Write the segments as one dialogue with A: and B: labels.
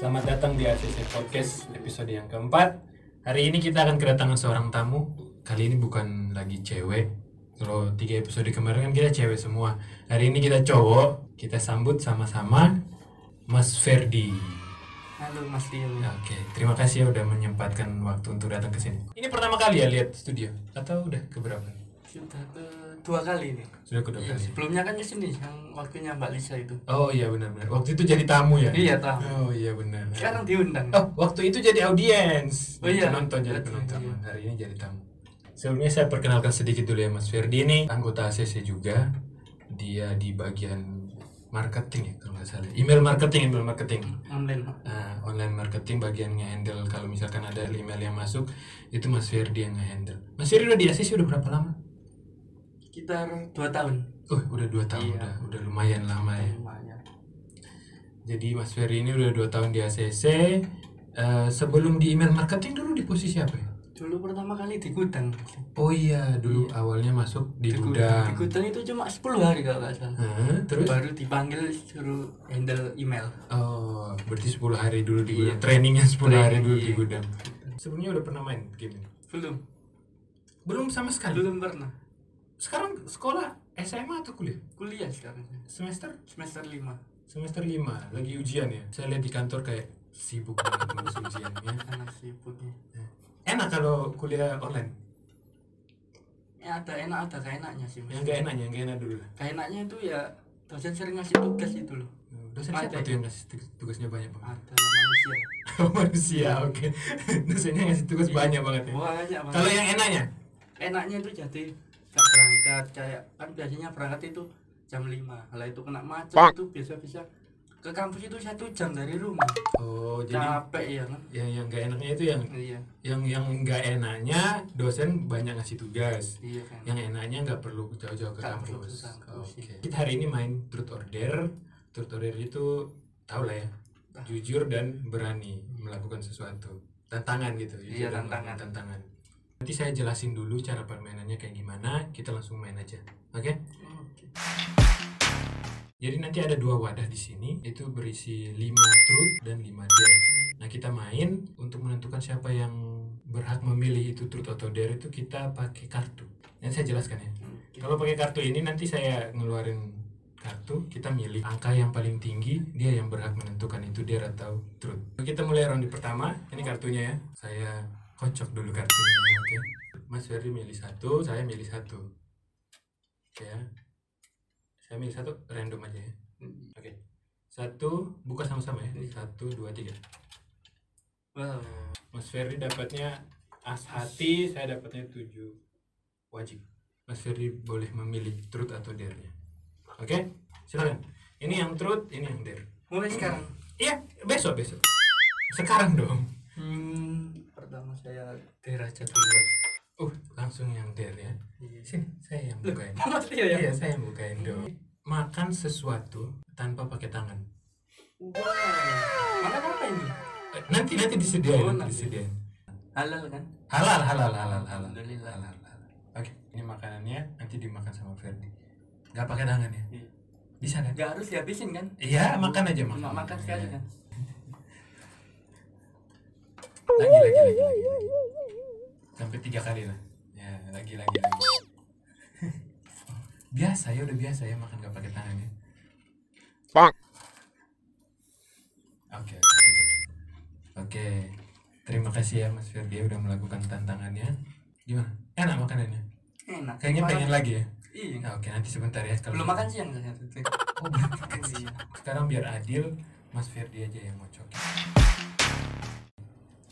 A: Selamat datang di ACC Podcast episode yang keempat. Hari ini kita akan kedatangan seorang tamu. Kali ini bukan lagi cewek. Kalau tiga episode kemarin kan kita cewek semua. Hari ini kita cowok. Kita sambut sama-sama Mas Ferdi.
B: Halo Mas Rio.
A: Oke, terima kasih ya udah menyempatkan waktu untuk datang ke sini. Ini pertama kali ya lihat studio atau udah keberapa?
B: Sudah ke dua kali ini.
A: Sudah kedua
B: Iya,
A: kali.
B: sebelumnya kan di sini yang waktunya Mbak Lisa itu.
A: Oh iya benar-benar. Waktu itu jadi tamu ya.
B: Iya, tamu. Kan
A: Oh iya benar.
B: Sekarang diundang.
A: Oh, waktu itu jadi audiens.
B: Oh iya.
A: Penonton jadi
B: Betul,
A: penonton.
B: iya.
A: Hari ini jadi tamu. Sebelumnya saya perkenalkan sedikit dulu ya Mas Ferdi ini anggota ACC juga. Dia di bagian marketing ya kalau nggak salah. Email marketing, email marketing.
B: Online. Pak.
A: Nah, online marketing bagian ngehandle kalau misalkan ada email yang masuk itu Mas Ferdi yang ngehandle. Mas Ferdi udah di ACC udah berapa lama?
B: Sekitar dua tahun.
A: Oh, udah dua tahun
B: Iya.
A: udah, udah lumayan lama ya.
B: Lumayan.
A: Jadi Mas Ferdi ini udah dua tahun di ACC. Eh, sebelum di email marketing dulu di posisi apa ya?
B: Dulu pertama kali di gudang.
A: Oh iya, dulu awalnya masuk di
B: Di
A: gudang. Iya.
B: gudang itu cuma 10 hari kalau nggak salah.
A: Hah, terus
B: Baru dipanggil suruh handle email.
A: oh, berarti 10 hari dulu di gudang. Trainingnya 10 hari
B: Training,
A: dulu di
B: iya.
A: gudang. Sebelumnya udah pernah main game ini?
B: Belum.
A: Belum sama sekali.
B: Belum pernah.
A: Sekarang sekolah SMA atau kuliah?
B: Kuliah sekarang.
A: Semester
B: Semester 5.
A: semester 5, lagi ujian ya. Saya lihat di kantor kayak sibuk banget ngurus ujiannya.
B: Karena sibuknya.
A: Enak kalau kuliah online.
B: Ya ada enak ada gak enaknya sih. Mas.
A: Yang gak enaknya, yang gak enak dulu.
B: Gak enaknya itu ya dosen sering ngasih tugas itu loh.
A: Dosen siapa
B: Materi.
A: tuh yang ngasih tug- tugasnya banyak banget?
B: Ada manusia.
A: Iya. Manusia, oke. Dosennya ngasih tugas
B: Iya.
A: banyak banget ya.
B: Banyak banget.
A: Kalau yang enaknya?
B: enaknya itu jadi gak berangkat kayak kan biasanya berangkat itu jam 5 kalau itu kena macet itu biasa-biasa ke kampus itu satu jam dari rumah
A: Oh, jadi
B: capek ya kan
A: yang yang gak enaknya itu yang
B: iya
A: yang yang nggak enaknya dosen banyak ngasih tugas
B: iya kan
A: yang enaknya nggak perlu jauh-jauh ke
B: Nggak perlu
A: kampus
B: ke kampus, iya.
A: oke kita hari ini main truth order truth order itu tau lah ya jujur dan berani melakukan sesuatu tantangan gitu jujur
B: Iya,
A: dan melakukan
B: tantangan.
A: tantangan nanti saya jelasin dulu cara permainannya kayak gimana kita langsung main aja oke
B: Oke.
A: Jadi nanti ada dua wadah di sini, itu berisi 5 truth dan 5 dare. Nah, kita main untuk menentukan siapa yang berhak memilih itu truth atau dare itu kita pakai kartu. Nanti saya jelaskan ya.
B: Oke.
A: Kalau pakai kartu ini nanti saya ngeluarin kartu, kita milih angka yang paling tinggi, dia yang berhak menentukan itu dare atau truth. Kita mulai round pertama, ini kartunya ya. Saya kocok dulu kartunya, ya, oke. Mas Ferry milih satu, saya milih satu. Oke ya. Saya milih satu, random aja ya. Oke. Satu, buka sama-sama ya. Satu, dua, tiga.
B: wow
A: Mas Ferry dapatnya as hati, saya dapatnya tujuh wajib. Mas Ferry boleh memilih truth atau dare-nya. Oke, silakan. Ini yang truth, ini yang dare.
B: mulai sekarang
A: Iya, besok besok. Sekarang dong.
B: hmm, pertama saya
A: Dare aja dulu. Uh, langsung yang dare ya.
B: iya
A: Sini, saya yang bukain.
B: Mas Rio ya
A: Iya, saya yang bukain dong. Makan sesuatu tanpa pakai tangan.
B: wow makan apa ini
A: Eh, Nanti nanti disediain,
B: Oh,
A: nanti
B: nanti.
A: disediain.
B: halal kan
A: halal halal halal halal
B: Alhamdulillah.
A: halal, halal. oke ini makanannya nanti dimakan sama Ferdi nggak pakai tangan ya
B: Iya.
A: bisa kan
B: nggak harus dihabisin kan
A: iya makan aja makan
B: cuma makan sekali kan
A: lagi lagi lagi lagi sampai tiga kali lah ya lagi lagi lagi biasa ya udah biasa ya makan nggak pakai tangan ya oke oke cukup cukup. oke terima kasih ya Mas Ferdi udah melakukan tantangannya gimana enak makanannya
B: enak
A: kayaknya
B: Makan-
A: pengen lagi ya
B: iya
A: Nah, oke nanti sebentar ya kalau
B: belum makan siang kan? Iya. saya tuh.
A: Oh, belum makan sih. Sekarang biar adil, Mas Ferdi aja yang mau cokin.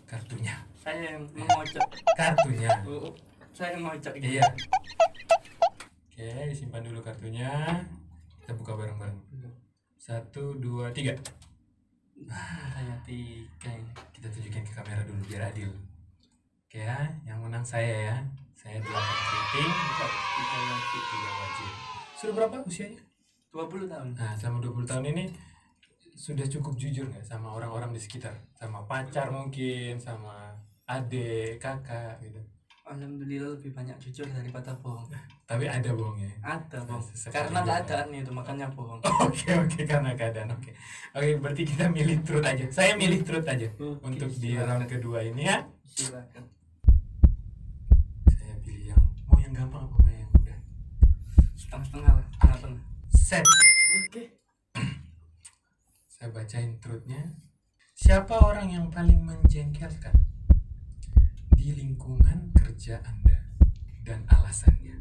A: Kartunya,
B: saya yang mengocok
A: kartunya.
B: Oh, oh, saya yang ngocok gitu.
A: Iya. Oke, disimpan dulu kartunya. Kita buka bareng-bareng. Satu, dua, tiga.
B: saya tiga ini.
A: Kita tunjukin ke kamera dulu biar adil. Oke ya, yang menang saya ya. Saya delapan keriting,
B: tiga lagi
A: tiga wajib. Sudah berapa usianya?
B: dua puluh tahun
A: Nah, selama 20 tahun ini sudah cukup jujur nggak sama orang-orang di sekitar? Sama pacar mungkin, sama adik, kakak gitu.
B: alhamdulillah lebih banyak jujur daripada bohong
A: Tapi ada bohongnya.
B: ada bohong
A: Seperti
B: karena
A: biasa.
B: keadaan itu makanya bohong
A: Oke oke karena keadaan oke. Oke berarti kita milih truth aja. Saya milih truth aja
B: Oke,
A: untuk di
B: silakan.
A: round kedua ini ya.
B: silakan
A: Saya pilih yang mau yang gampang apa mau yang mudah?
B: setengah setengah lah setengah setengah
A: Set.
B: oke
A: Saya bacain truthnya. Siapa orang yang paling menjengkelkan di lingkungan kerja Anda dan alasannya?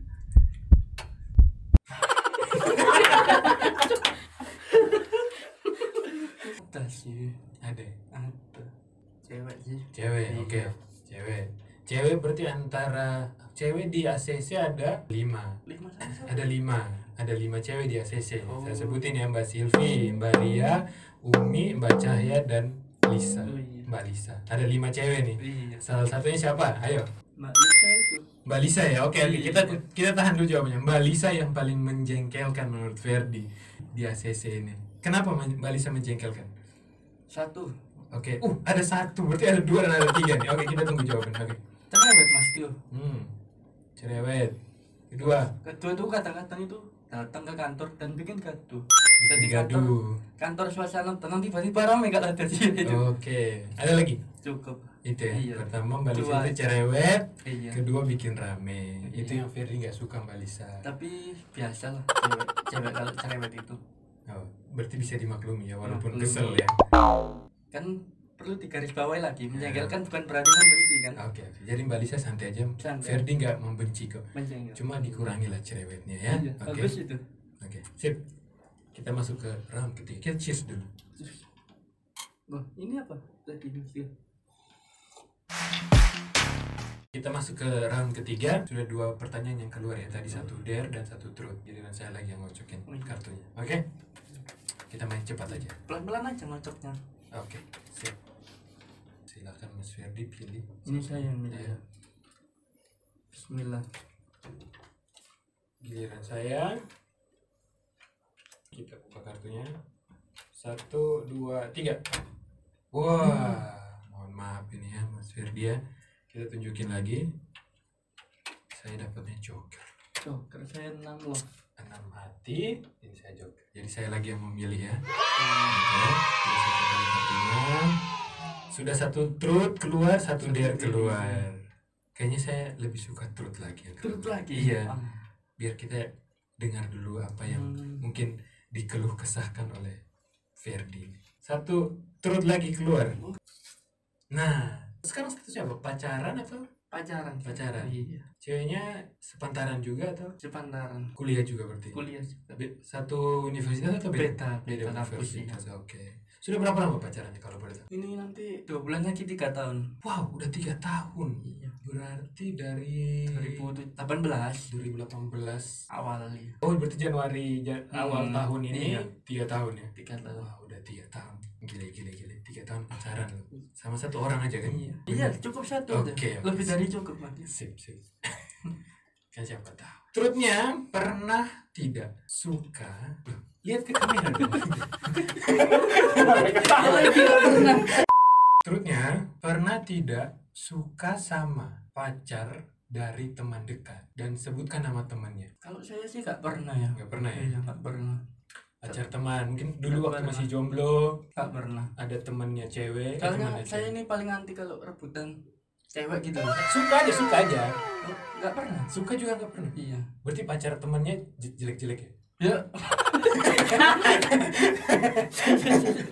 B: ada sih
A: Ada ya?
B: ada cewek sih
A: cewek. Oke
B: Iya.
A: cewek. Cewek berarti antara cewek di ACC ada lima.
B: lima sama
A: ada lima ada lima cewek di ACC
B: Oh.
A: saya sebutin ya Mbak Silvi Mbak Ria Umi Mbak Cahya dan Lisa
B: Oh, iya.
A: Mbak Lisa ada lima cewek nih
B: iya
A: salah satunya siapa ayo
B: mbak Lisa itu
A: Mbak Lisa ya oke oke.
B: Iya.
A: kita kita tahan dulu jawabannya Mbak Lisa yang paling menjengkelkan menurut Verdi di ACC ini kenapa men- Mbak Lisa menjengkelkan
B: satu
A: oke uh ada satu berarti ada dua dan ada tiga nih oke kita tunggu jawaban oke
B: cerewet mas Tio
A: hmm cerewet kedua
B: kedua tuh kadang-kadang itu datang ke kantor dan bikin gaduh
A: bikin
B: Jadi
A: gaduh
B: kantor suasana tenang tiba-tiba ramai gak ada sih itu
A: oke ada lagi
B: cukup
A: itu ya
B: Iya.
A: pertama mbak Lisa
B: Dua.
A: itu cerewet
B: iya
A: kedua bikin rame itu
B: Iya.
A: yang Ferry nggak suka mbak Lisa
B: tapi biasa lah cewek, cewek gitu. kalau cerewet itu
A: oh, berarti bisa dimaklumi ya walaupun
B: Maklumi.
A: kesel ya
B: kan perlu digaris bawahi lagi menjengkelkan bukan berarti membenci kan
A: oke oke. jadi mbak Lisa santai aja
B: Santai.
A: Ferdi nggak membenci kok
B: menjengkel
A: cuma dikurangi lah cerewetnya ya
B: iya,
A: oke
B: bagus itu
A: oke sip kita masuk ke round ketiga kita cheers dulu
B: Wah, ini apa tadi Lucia
A: kita masuk ke round ketiga sudah dua pertanyaan yang keluar ya tadi satu dare dan satu truth jadi nanti saya lagi yang ngocokin
B: Wih.
A: kartunya oke kita main cepat aja
B: pelan-pelan aja ngocoknya
A: Oke, sip. Silakan Mas Ferdi pilih.
B: ini saya yang milih
A: Iya.
B: Bismillah
A: Giliran saya. Kita buka kartunya. Satu, dua, tiga. Wah, mohon maaf ini ya Mas Ferdi ya. Kita tunjukin lagi. Saya dapatnya joker.
B: Joker saya enam loh
A: Enam hati, ini saya joker. Jadi saya lagi yang memilih ya. Oke,
B: Hmm,
A: terus kita balik kartunya. Sudah satu truth keluar, satu dare keluar. Kayaknya saya lebih suka truth lagi. yang
B: turut
A: kedua.
B: lagi
A: Iya,
B: Ah,
A: biar kita dengar dulu apa yang
B: hmm,
A: mungkin dikeluh kesahkan oleh Ferdi. Satu truth lagi keluar. Nah, sekarang statusnya apa? Pacaran atau
B: pacaran
A: Pacaran.
B: iya
A: ceweknya sepantaran juga atau
B: sepantaran
A: kuliah juga berarti?
B: kuliah juga
A: Be- Satu universitas atau Iya. beda?
B: beda beda
A: Beda
B: kampus iya.
A: universitas. Oke. Sudah berapa lama pacarannya kalau boleh tahu?
B: ini nanti dua bulan lagi tiga tahun
A: Wow, udah tiga tahun.
B: iya
A: Berarti dari
B: 2018
A: 2018.
B: awal iya.
A: Oh, berarti Januari ja- awal
B: Hmm,
A: tahun ini
B: iya.
A: tiga tahun ya.
B: tiga tahun
A: Wah, udah tiga tahun. Gila, gila, gila. Tiga tahun pacaran loh. Sama satu orang aja kan?
B: iya iya cukup satu aja.
A: Oke, oke.
B: lebih dari cukup mas
A: Sip, sip. kan siapa tahu. Truthnya pernah tidak suka. Loh, Lihat ke kamera dong. Iya. Truthnya pernah tidak suka sama pacar dari teman dekat dan sebutkan nama temannya.
B: kalau saya sih gak pernah ya
A: Nggak pernah ya?
B: iya ah. gak pernah
A: pacar teman mungkin dulu waktu
B: Pernah.
A: masih jomblo
B: gak pernah
A: ada temennya cewek ada
B: karena
A: temannya
B: saya
A: cewek.
B: ini paling anti kalau rebutan cewek gitu loh
A: suka aja suka aja
B: gak pernah
A: suka juga nggak pernah
B: iya
A: berarti pacar temannya je- jelek-jelek ya
B: ya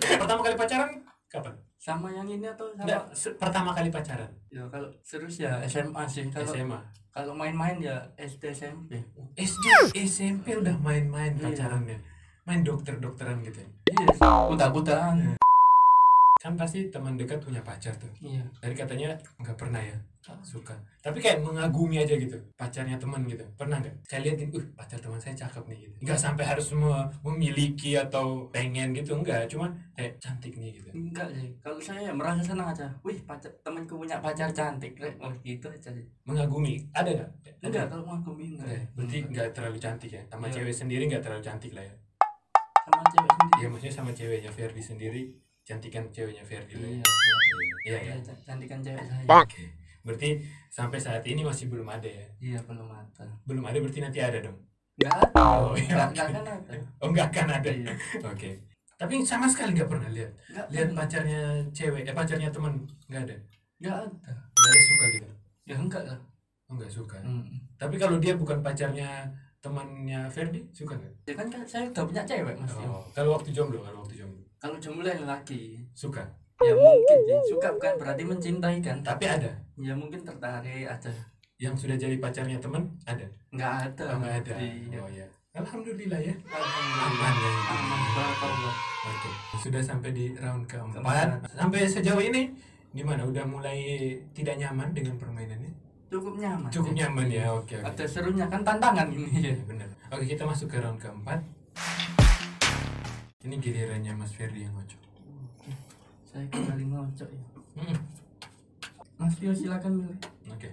A: pertama kali pacaran kapan
B: sama yang ini atau sama
A: Nggak, se- pertama kali pacaran
B: ya kalau serius ya SMA sih kalau
A: SMA
B: kalau main-main ya SD SMP
A: SD SMP udah main-main
B: Iya.
A: pacarannya main dokter-dokteran gitu ya
B: iya kuda-kudaan
A: kan pasti teman dekat punya pacar tuh
B: iya
A: dari katanya nggak pernah ya suka tapi kayak mengagumi aja gitu pacarnya teman gitu pernah nggak saya lihat gitu uh pacar teman saya cakep nih gitu nggak sampai harus me- memiliki atau pengen gitu enggak cuma kayak cantik nih gitu
B: enggak sih kalau saya ya merasa senang aja wih pacar temanku punya pacar cantik Rek. oh gitu aja sih
A: mengagumi ada nggak Ada.
B: enggak kalau mengagumi
A: Ada ya?
B: enggak
A: berarti nggak terlalu cantik ya sama
B: Hmm. Iya.
A: cewek sendiri nggak terlalu cantik lah ya
B: sama cewek
A: ya
B: sendiri
A: maksudnya sama ceweknya Ferdi sendiri cantikan ceweknya Ferdi lah ya
B: iya
A: iya ya
B: iya, cantikan cewek saya
A: oke Berarti sampai saat ini masih belum ada ya?
B: iya belum ada
A: Belum ada berarti nanti ada dong?
B: nggak ada
A: Oh, iya,
B: nggak
A: oke.
B: nggak akan ada
A: Oh nggak akan ada?
B: Iya.
A: Oke. Tapi sama sekali nggak pernah lihat.
B: nggak
A: Lihat
B: pernah.
A: pacarnya cewek, eh pacarnya teman nggak ada?
B: nggak ada
A: Nggak ada suka gitu?
B: ya enggak lah
A: Oh, nggak suka.
B: hmm.
A: Tapi kalau dia bukan pacarnya temannya Ferdi, suka nggak?
B: ya kan kan saya udah punya cewek mas Yo.
A: Oh. Kalau waktu jomblo, kalau waktu jomblo,
B: kalau jomblo yang lagi
A: suka.
B: ya mungkin ya. suka bukan berarti mencintai kan
A: Tapi ada
B: ya mungkin tertarik aja
A: yang sudah jadi pacarnya teman, ada.
B: nggak ada
A: Oh, nggak ada.
B: Iya.
A: Oh ya. Alhamdulillah ya.
B: Alhamdulillah.
A: Aman ya.
B: Aman, barakallah.
A: Oke, sudah sampai di round keempat.
B: Keempat.
A: Sampai sejauh ini gimana? Udah mulai tidak nyaman dengan permainannya?
B: cukup nyaman
A: Cukup nyaman ya. Oke,
B: ada
A: oke.
B: serunya kan tantangan ini ya
A: Iya, benar. Oke, kita masuk ke round keempat. Ini gilirannya Mas Ferdi yang ngocok.
B: saya kembali ngocok ya
A: Mm,
B: Mas Tio silakan milih
A: Oke.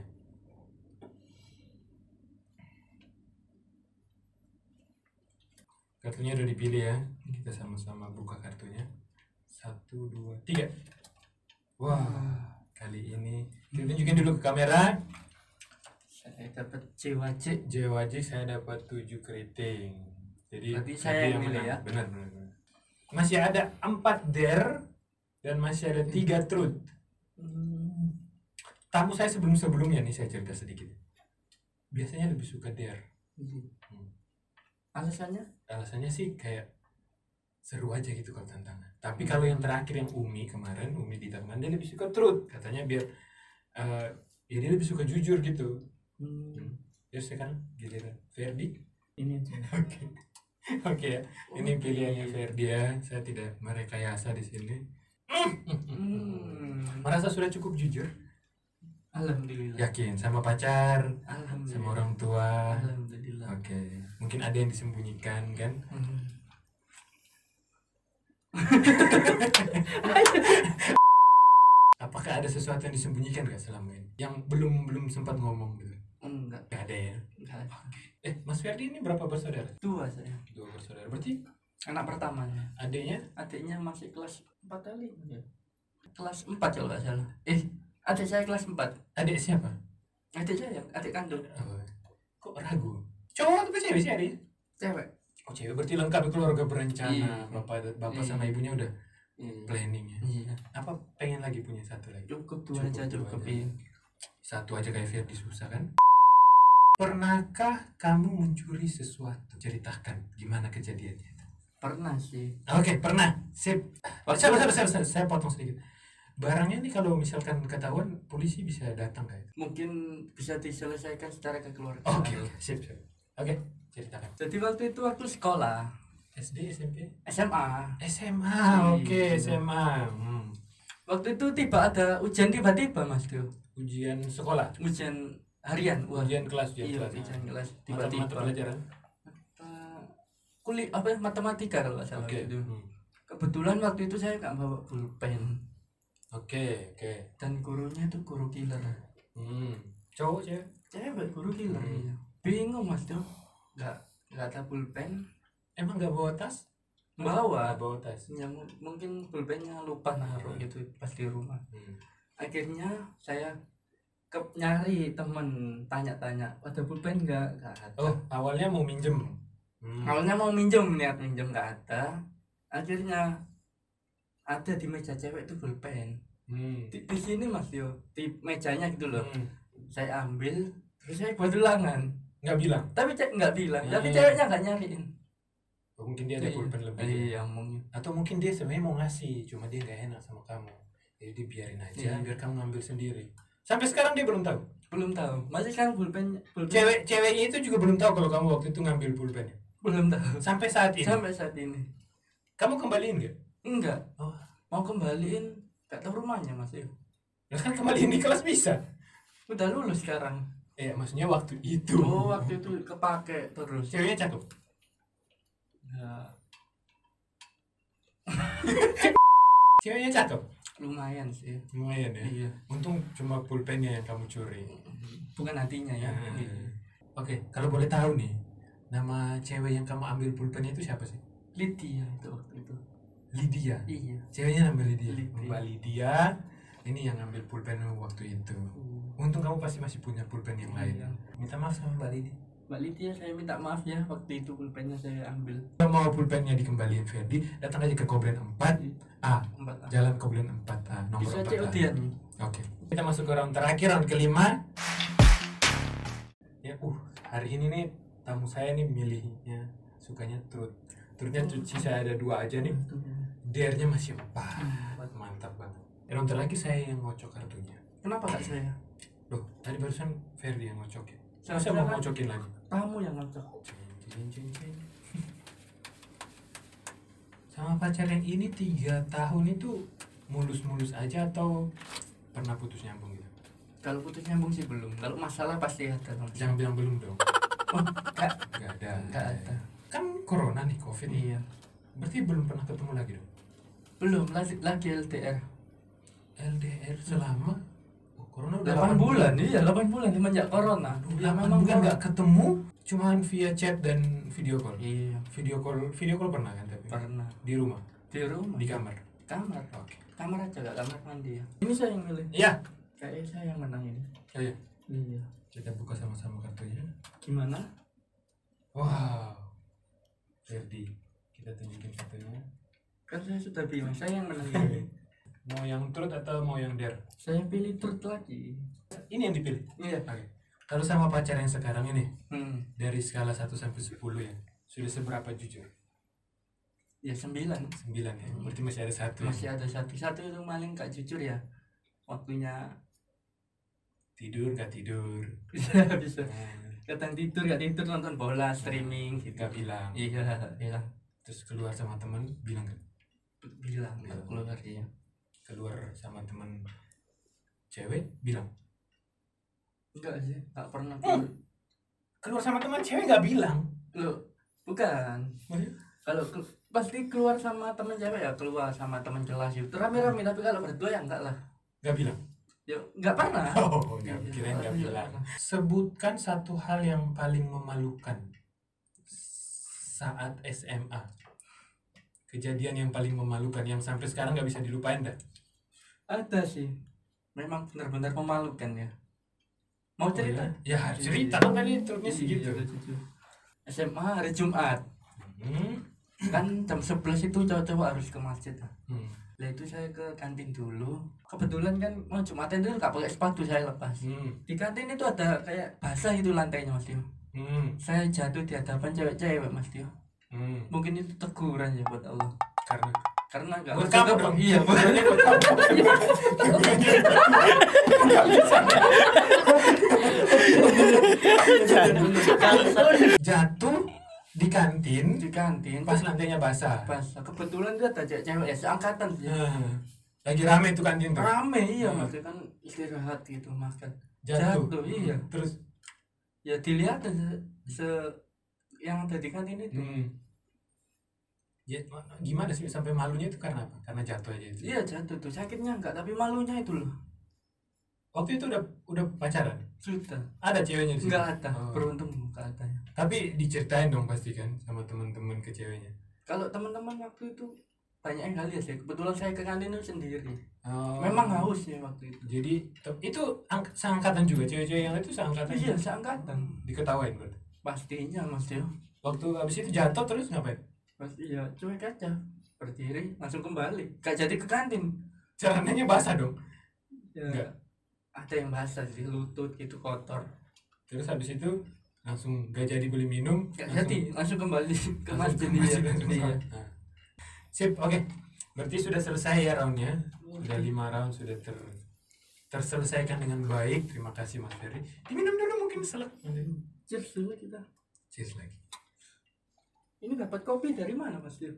A: Kartunya udah dipilih ya. Kita sama-sama buka kartunya. Satu, dua, tiga. Wah, kali ini kita tunjukin dulu ke kamera.
B: saya dapat CWC
A: JWJ saya dapat 7 keriting. Jadi
B: Berarti
A: Ferdi
B: saya yang milih
A: menang.
B: ya?
A: Benar, benar, benar. Masih ada 4 dare dan masih ada 3 truth.
B: Hmm.
A: Tamu saya sebelum-sebelumnya nih saya cerita sedikit. Biasanya lebih suka dare.
B: Iya. alasannya
A: Alasannya sih kayak seru aja gitu kalau tantangan. Tapi
B: Hmm.
A: kalau yang terakhir yang Umi kemarin, Umi di tangan dia lebih suka truth. Katanya biar eh ya dia lebih suka jujur gitu.
B: Hmm,
A: Ya sekarang giliran Ferdi.
B: ini aja.
A: Oke. Oke ya. Ini pilihannya Ferdi ya. Saya tidak merekayasa di sini.
B: Hmm,
A: Merasa sudah cukup jujur?
B: alhamdulillah
A: Yakin sama pacar, Ya. sama
B: alhamdulillah
A: orang tua.
B: alhamdulillah
A: Oke. Mungkin ada yang disembunyikan kan?
B: Hmm.
A: Apakah ada sesuatu yang disembunyikan gak selama ini? Yang belum belum sempat ngomong gitu.
B: enggak
A: Gak ada ya.
B: enggak ada.
A: Eh, Mas Ferdi ini berapa bersaudara?
B: dua saya
A: Dua bersaudara. Berarti
B: anak pertamanya
A: adiknya
B: adiknya masih kelas empat kali
A: Iya.
B: ya kelas empat kalau nggak salah eh adik saya kelas empat
A: adik siapa?
B: adik saya adik kandung
A: Oh, Kok ragu? Cowok apa cewek sih adiknya?
B: cewek
A: Oh cewek berarti lengkap ya, keluarga berencana
B: Iya.
A: bapak bapak
B: Iya.
A: sama ibunya udah ya?
B: Iya.
A: planningnya.
B: iya
A: Apa pengen lagi punya satu lagi?
B: cukup dua aja
A: dua
B: cukup
A: aja.
B: iya.
A: Satu aja kayak Ferdi susah kan? Pernahkah kamu mencuri sesuatu? Ceritakan gimana kejadiannya.
B: pernah sih
A: Oke pernah. Sip. Saya saya potong sedikit. Barangnya nih kalau misalkan ketahuan polisi bisa datang kayak.
B: mungkin bisa diselesaikan secara kekeluargaan
A: Oke oke sip sip. Oke ceritakan.
B: jadi waktu itu waktu sekolah
A: SD SMP
B: SMA
A: SMA oke
B: Iya.
A: SMA. Hmm.
B: waktu itu tiba ada ujian tiba-tiba mas Dio
A: Ujian sekolah.
B: ujian harian wah
A: Ujian kelas ujian
B: iya
A: kelas.
B: ujian kelas
A: Mata- mata
B: tiba-tiba
A: pelajaran.
B: Eh, kulit apa ya, matematika kalau nggak salah
A: Oke.
B: gitu.
A: Hmm.
B: kebetulan waktu itu saya nggak bawa pulpen
A: Oke, oke.
B: dan gurunya itu guru killer
A: Hmm. Cowok cewek?
B: cewek guru killer
A: Hmm.
B: iya. bingung mas tuh nggak nggak ada pulpen
A: Emang nggak bawa tas?
B: bawa
A: Nggak bawa tas.
B: yang mungkin pulpennya lupa naruh gitu pas di rumah
A: Hmm.
B: akhirnya saya ke nyari temen tanya-tanya ada pulpen nggak nggak ada
A: Oh, awalnya mau minjem. Hmm.
B: awalnya mau minjem niat minjem nggak ada akhirnya ada di meja cewek itu pulpen
A: Hmm.
B: di, di sini mas yo di mejanya gitu loh
A: Hmm.
B: saya ambil terus saya buat ulangan
A: Nggak bilang.
B: tapi cek nggak bilang tapi
A: Iya.
B: ceweknya nggak nyariin
A: Oh, mungkin dia ada
B: Iya.
A: pulpen lebih.
B: iya mungkin
A: Atau mungkin dia sebenarnya mau ngasih, cuma dia nggak enak sama kamu. Jadi dibiarin aja,
B: Iya.
A: biar kamu ngambil sendiri. Sampai sekarang dia belum tahu.
B: belum tahu masih kan pulpen pulpen
A: Cewek ceweknya itu juga belum tahu kalau kamu waktu itu ngambil pulpennya.
B: belum tahu
A: Sampai saat ini.
B: sampai saat ini
A: Kamu kembaliin nggak?
B: enggak
A: Oh.
B: mau kembaliin gak tahu rumahnya mas yo
A: Nah, kan kembaliin di kelas bisa.
B: udah lulus sekarang
A: Ya, maksudnya waktu itu.
B: oh waktu itu kepake terus
A: Ceweknya cakep.
B: ya,
A: Ceweknya cakep.
B: lumayan sih
A: Lumayan ya.
B: iya
A: Untung cuma pulpennya yang kamu curi.
B: bukan hatinya ya
A: Hmm. Oke, kalau boleh tahu nih, nama cewek yang kamu ambil pulpennya itu siapa sih?
B: Lydia itu waktu itu
A: Lydia.
B: iya
A: Ceweknya namanya Lydia.
B: Lydia.
A: Mbak Lydia. ini yang ngambil pulpen waktu itu untung kamu pasti masih punya pulpen yang lain
B: Iya.
A: minta maaf sama mbak Lidi
B: Mbak Lydia saya minta maaf ya waktu itu pulpennya saya ambil
A: kalau mau pulpennya dikembaliin Ferdi datang aja ke Koblen 4A
B: empat ah.
A: Jalan Koblen 4A nomor
B: Bisa
A: 4A
B: COD ya?
A: Oke kita masuk ke round terakhir round kelima ya uh hari ini nih tamu saya nih milihnya sukanya truth truthnya cuci saya ada dua aja nih DR-nya masih empat mantap banget Ya, round terakhir saya yang ngocok kartunya
B: Kenapa kak saya?
A: Loh, tadi barusan Ferdi yang ngocokin. Saya
B: Saya
A: mau
B: kan-
A: ngocokin lagi.
B: Kamu yang ngocok
A: Cing, cing, cing. Sama pacar yang ini tiga tahun itu mulus-mulus aja atau pernah putus nyambung gitu?
B: Kalau putus nyambung sih belum Kalau masalah pasti ada Bang.
A: Jangan bilang belum dong.
B: Oh kak
A: Gak ada.
B: Nggak ada. Iya.
A: Kan corona nih, covid nih. Berarti belum pernah ketemu lagi dong?
B: Belum lagi, lagi LDR
A: LDR selama oh, corona udah delapan
B: 8 bulan iya 8 bulan semenjak corona
A: Aduh, delapan bulan nggak ketemu, cuman via chat dan video call.
B: Iya
A: Video call, video call pernah kan tapi?
B: pernah
A: Di rumah,
B: di rumah
A: di kamar.
B: kamar
A: Oke.
B: kamar aja gak kamar mandi ya ini saya yang milih
A: Iya.
B: kayaknya saya yang menang ini
A: Oh iya.
B: iya
A: Kita buka sama-sama kartunya.
B: gimana
A: Wow. Ferdi, kita tunjukin kartunya.
B: kan saya sudah bilang saya yang menang ini
A: mau yang truth atau mau yang dare?
B: saya pilih turut lagi
A: Ini yang dipilih.
B: iya
A: Oke. Kalau sama pacar yang sekarang ini
B: hmm.
A: dari skala 1 sampai 10 ya. Sudah seberapa jujur?
B: ya sembilan
A: 9 ya. Berarti masih ada satu. ya.
B: masih ada satu satu itu paling gak jujur ya waktunya
A: Tidur nggak tidur.
B: bisa bisa
A: Nah,
B: kadang tidur gak tidur nonton bola streaming gitu
A: kita bilang.
B: iya iya
A: Terus keluar sama teman bilang nggak?
B: bilang gak keluar iya
A: keluar sama teman cewek bilang
B: enggak sih Hmm. gak pernah keluar.
A: keluar sama teman cewek nggak bilang
B: Loh, bukan kalau ke- pasti keluar sama temen cewek ya keluar sama temen kelas itu rame-rame tapi kalau berdua ya enggak lah
A: nggak bilang
B: ya enggak pernah
A: oh
B: Iya,
A: nggak kirain nggak
B: iya.
A: bilang sebutkan satu hal yang paling memalukan saat SMA kejadian yang paling memalukan yang sampai sekarang nggak bisa dilupain dah
B: ada sih memang benar-benar memalukan ya mau cerita
A: ya harus cerita kan tadi truknya segitu
B: Oh Iya, lucu. SMA hari Jumat
A: hmm.
B: kan jam 11 itu cowok-cowok harus ke masjid lah
A: Hmm.
B: Lah itu saya ke kantin dulu kebetulan kan mau Jumatan itu nggak pakai sepatu saya lepas
A: Hmm.
B: di kantin itu ada kayak basah itu lantainya mas Tio
A: Hmm.
B: saya jatuh di hadapan cewek-cewek mas Tio
A: Hmm.
B: mungkin itu teguran ya buat Allah
A: karena
B: karena nggak
A: Buat
B: harus
A: kamu
B: tetap-
A: dong.
B: iya buat
A: jatuh di kantin
B: di kantin
A: pas lantainya basah
B: pas Nah, kebetulan dia ada cewek ya seangkatan sih
A: Ah, lagi rame tuh kantin tuh
B: rame iya
A: Hmm.
B: mas Tio kan istirahat gitu makan
A: jatuh,
B: jatuh, iya.
A: terus
B: ya dilihat se, se- yang kan ada di kantin itu
A: hmm. Ya, gimana sih sampai malunya itu karena apa? Karena jatuh aja itu.
B: iya jatuh tuh sakitnya enggak tapi malunya itu loh
A: Waktu itu udah udah pacaran.
B: sudah
A: Ada ceweknya di situ?
B: enggak ada
A: Oh.
B: beruntung enggak ada ya.
A: Tapi diceritain dong pasti kan sama teman-teman ke ceweknya.
B: kalau teman-teman waktu itu banyak yang nggak lihat sih kebetulan saya ke kantin itu sendiri
A: Oh.
B: memang haus sih waktu itu
A: Jadi te- itu angk- seangkatan juga cewek-cewek yang itu seangkatan.
B: iya
A: juga?
B: seangkatan
A: Diketawain berarti.
B: pastinya mas Tio
A: Waktu habis itu jatuh terus ngapain?
B: pasti ya cuek aja berdiri langsung kembali gak jadi ke kantin
A: Celananya basah dong.
B: ya
A: Nggak.
B: ada yang basah sih lutut gitu kotor
A: Terus habis itu langsung gak jadi beli minum.
B: gak
A: langsung-
B: jadi langsung kembali ke
A: Langsung
B: masjid
A: ke masjid,
B: iya.
A: langsung
B: Iya.
A: sholat. Nah. Sip, oke. Berarti sudah selesai ya roundnya. Sudah lima round sudah ter terselesaikan dengan baik. Terima kasih Mas Ferry. Diminum dulu mungkin selek. Nanti.
B: Cheers dulu kita
A: Cheers lagi.
B: ini dapat kopi dari mana mas Tio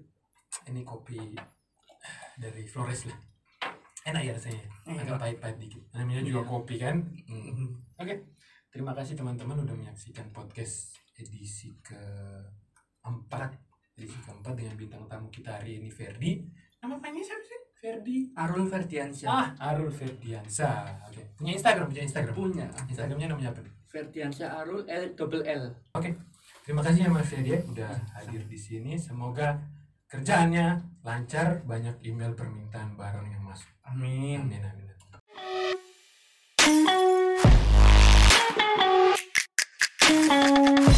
A: Ini kopi eh, dari Flores lah. Enak ya rasanya. Agak pahit-pahit dikit. Namanya juga kopi kan. Oke. Terima kasih teman-teman udah menyaksikan podcast edisi keempat edisi keempat dengan bintang tamu kita hari ini Ferdi. Nama panjangnya siapa sih? Ferdi.
B: Arul Ferdiansyah
A: Ah, Arul Ferdiansa. Oke. Punya Instagram, punya Instagram.
B: punya
A: Instagramnya namanya apa? nih?
B: Ferdiansyah Arul L double L
A: Oke. Terima kasih ya Mas Ferdi ya, udah hadir di sini. Semoga kerjaannya lancar, banyak email permintaan barang yang masuk.
B: amin
A: Amin amin. amin.
C: Thank you.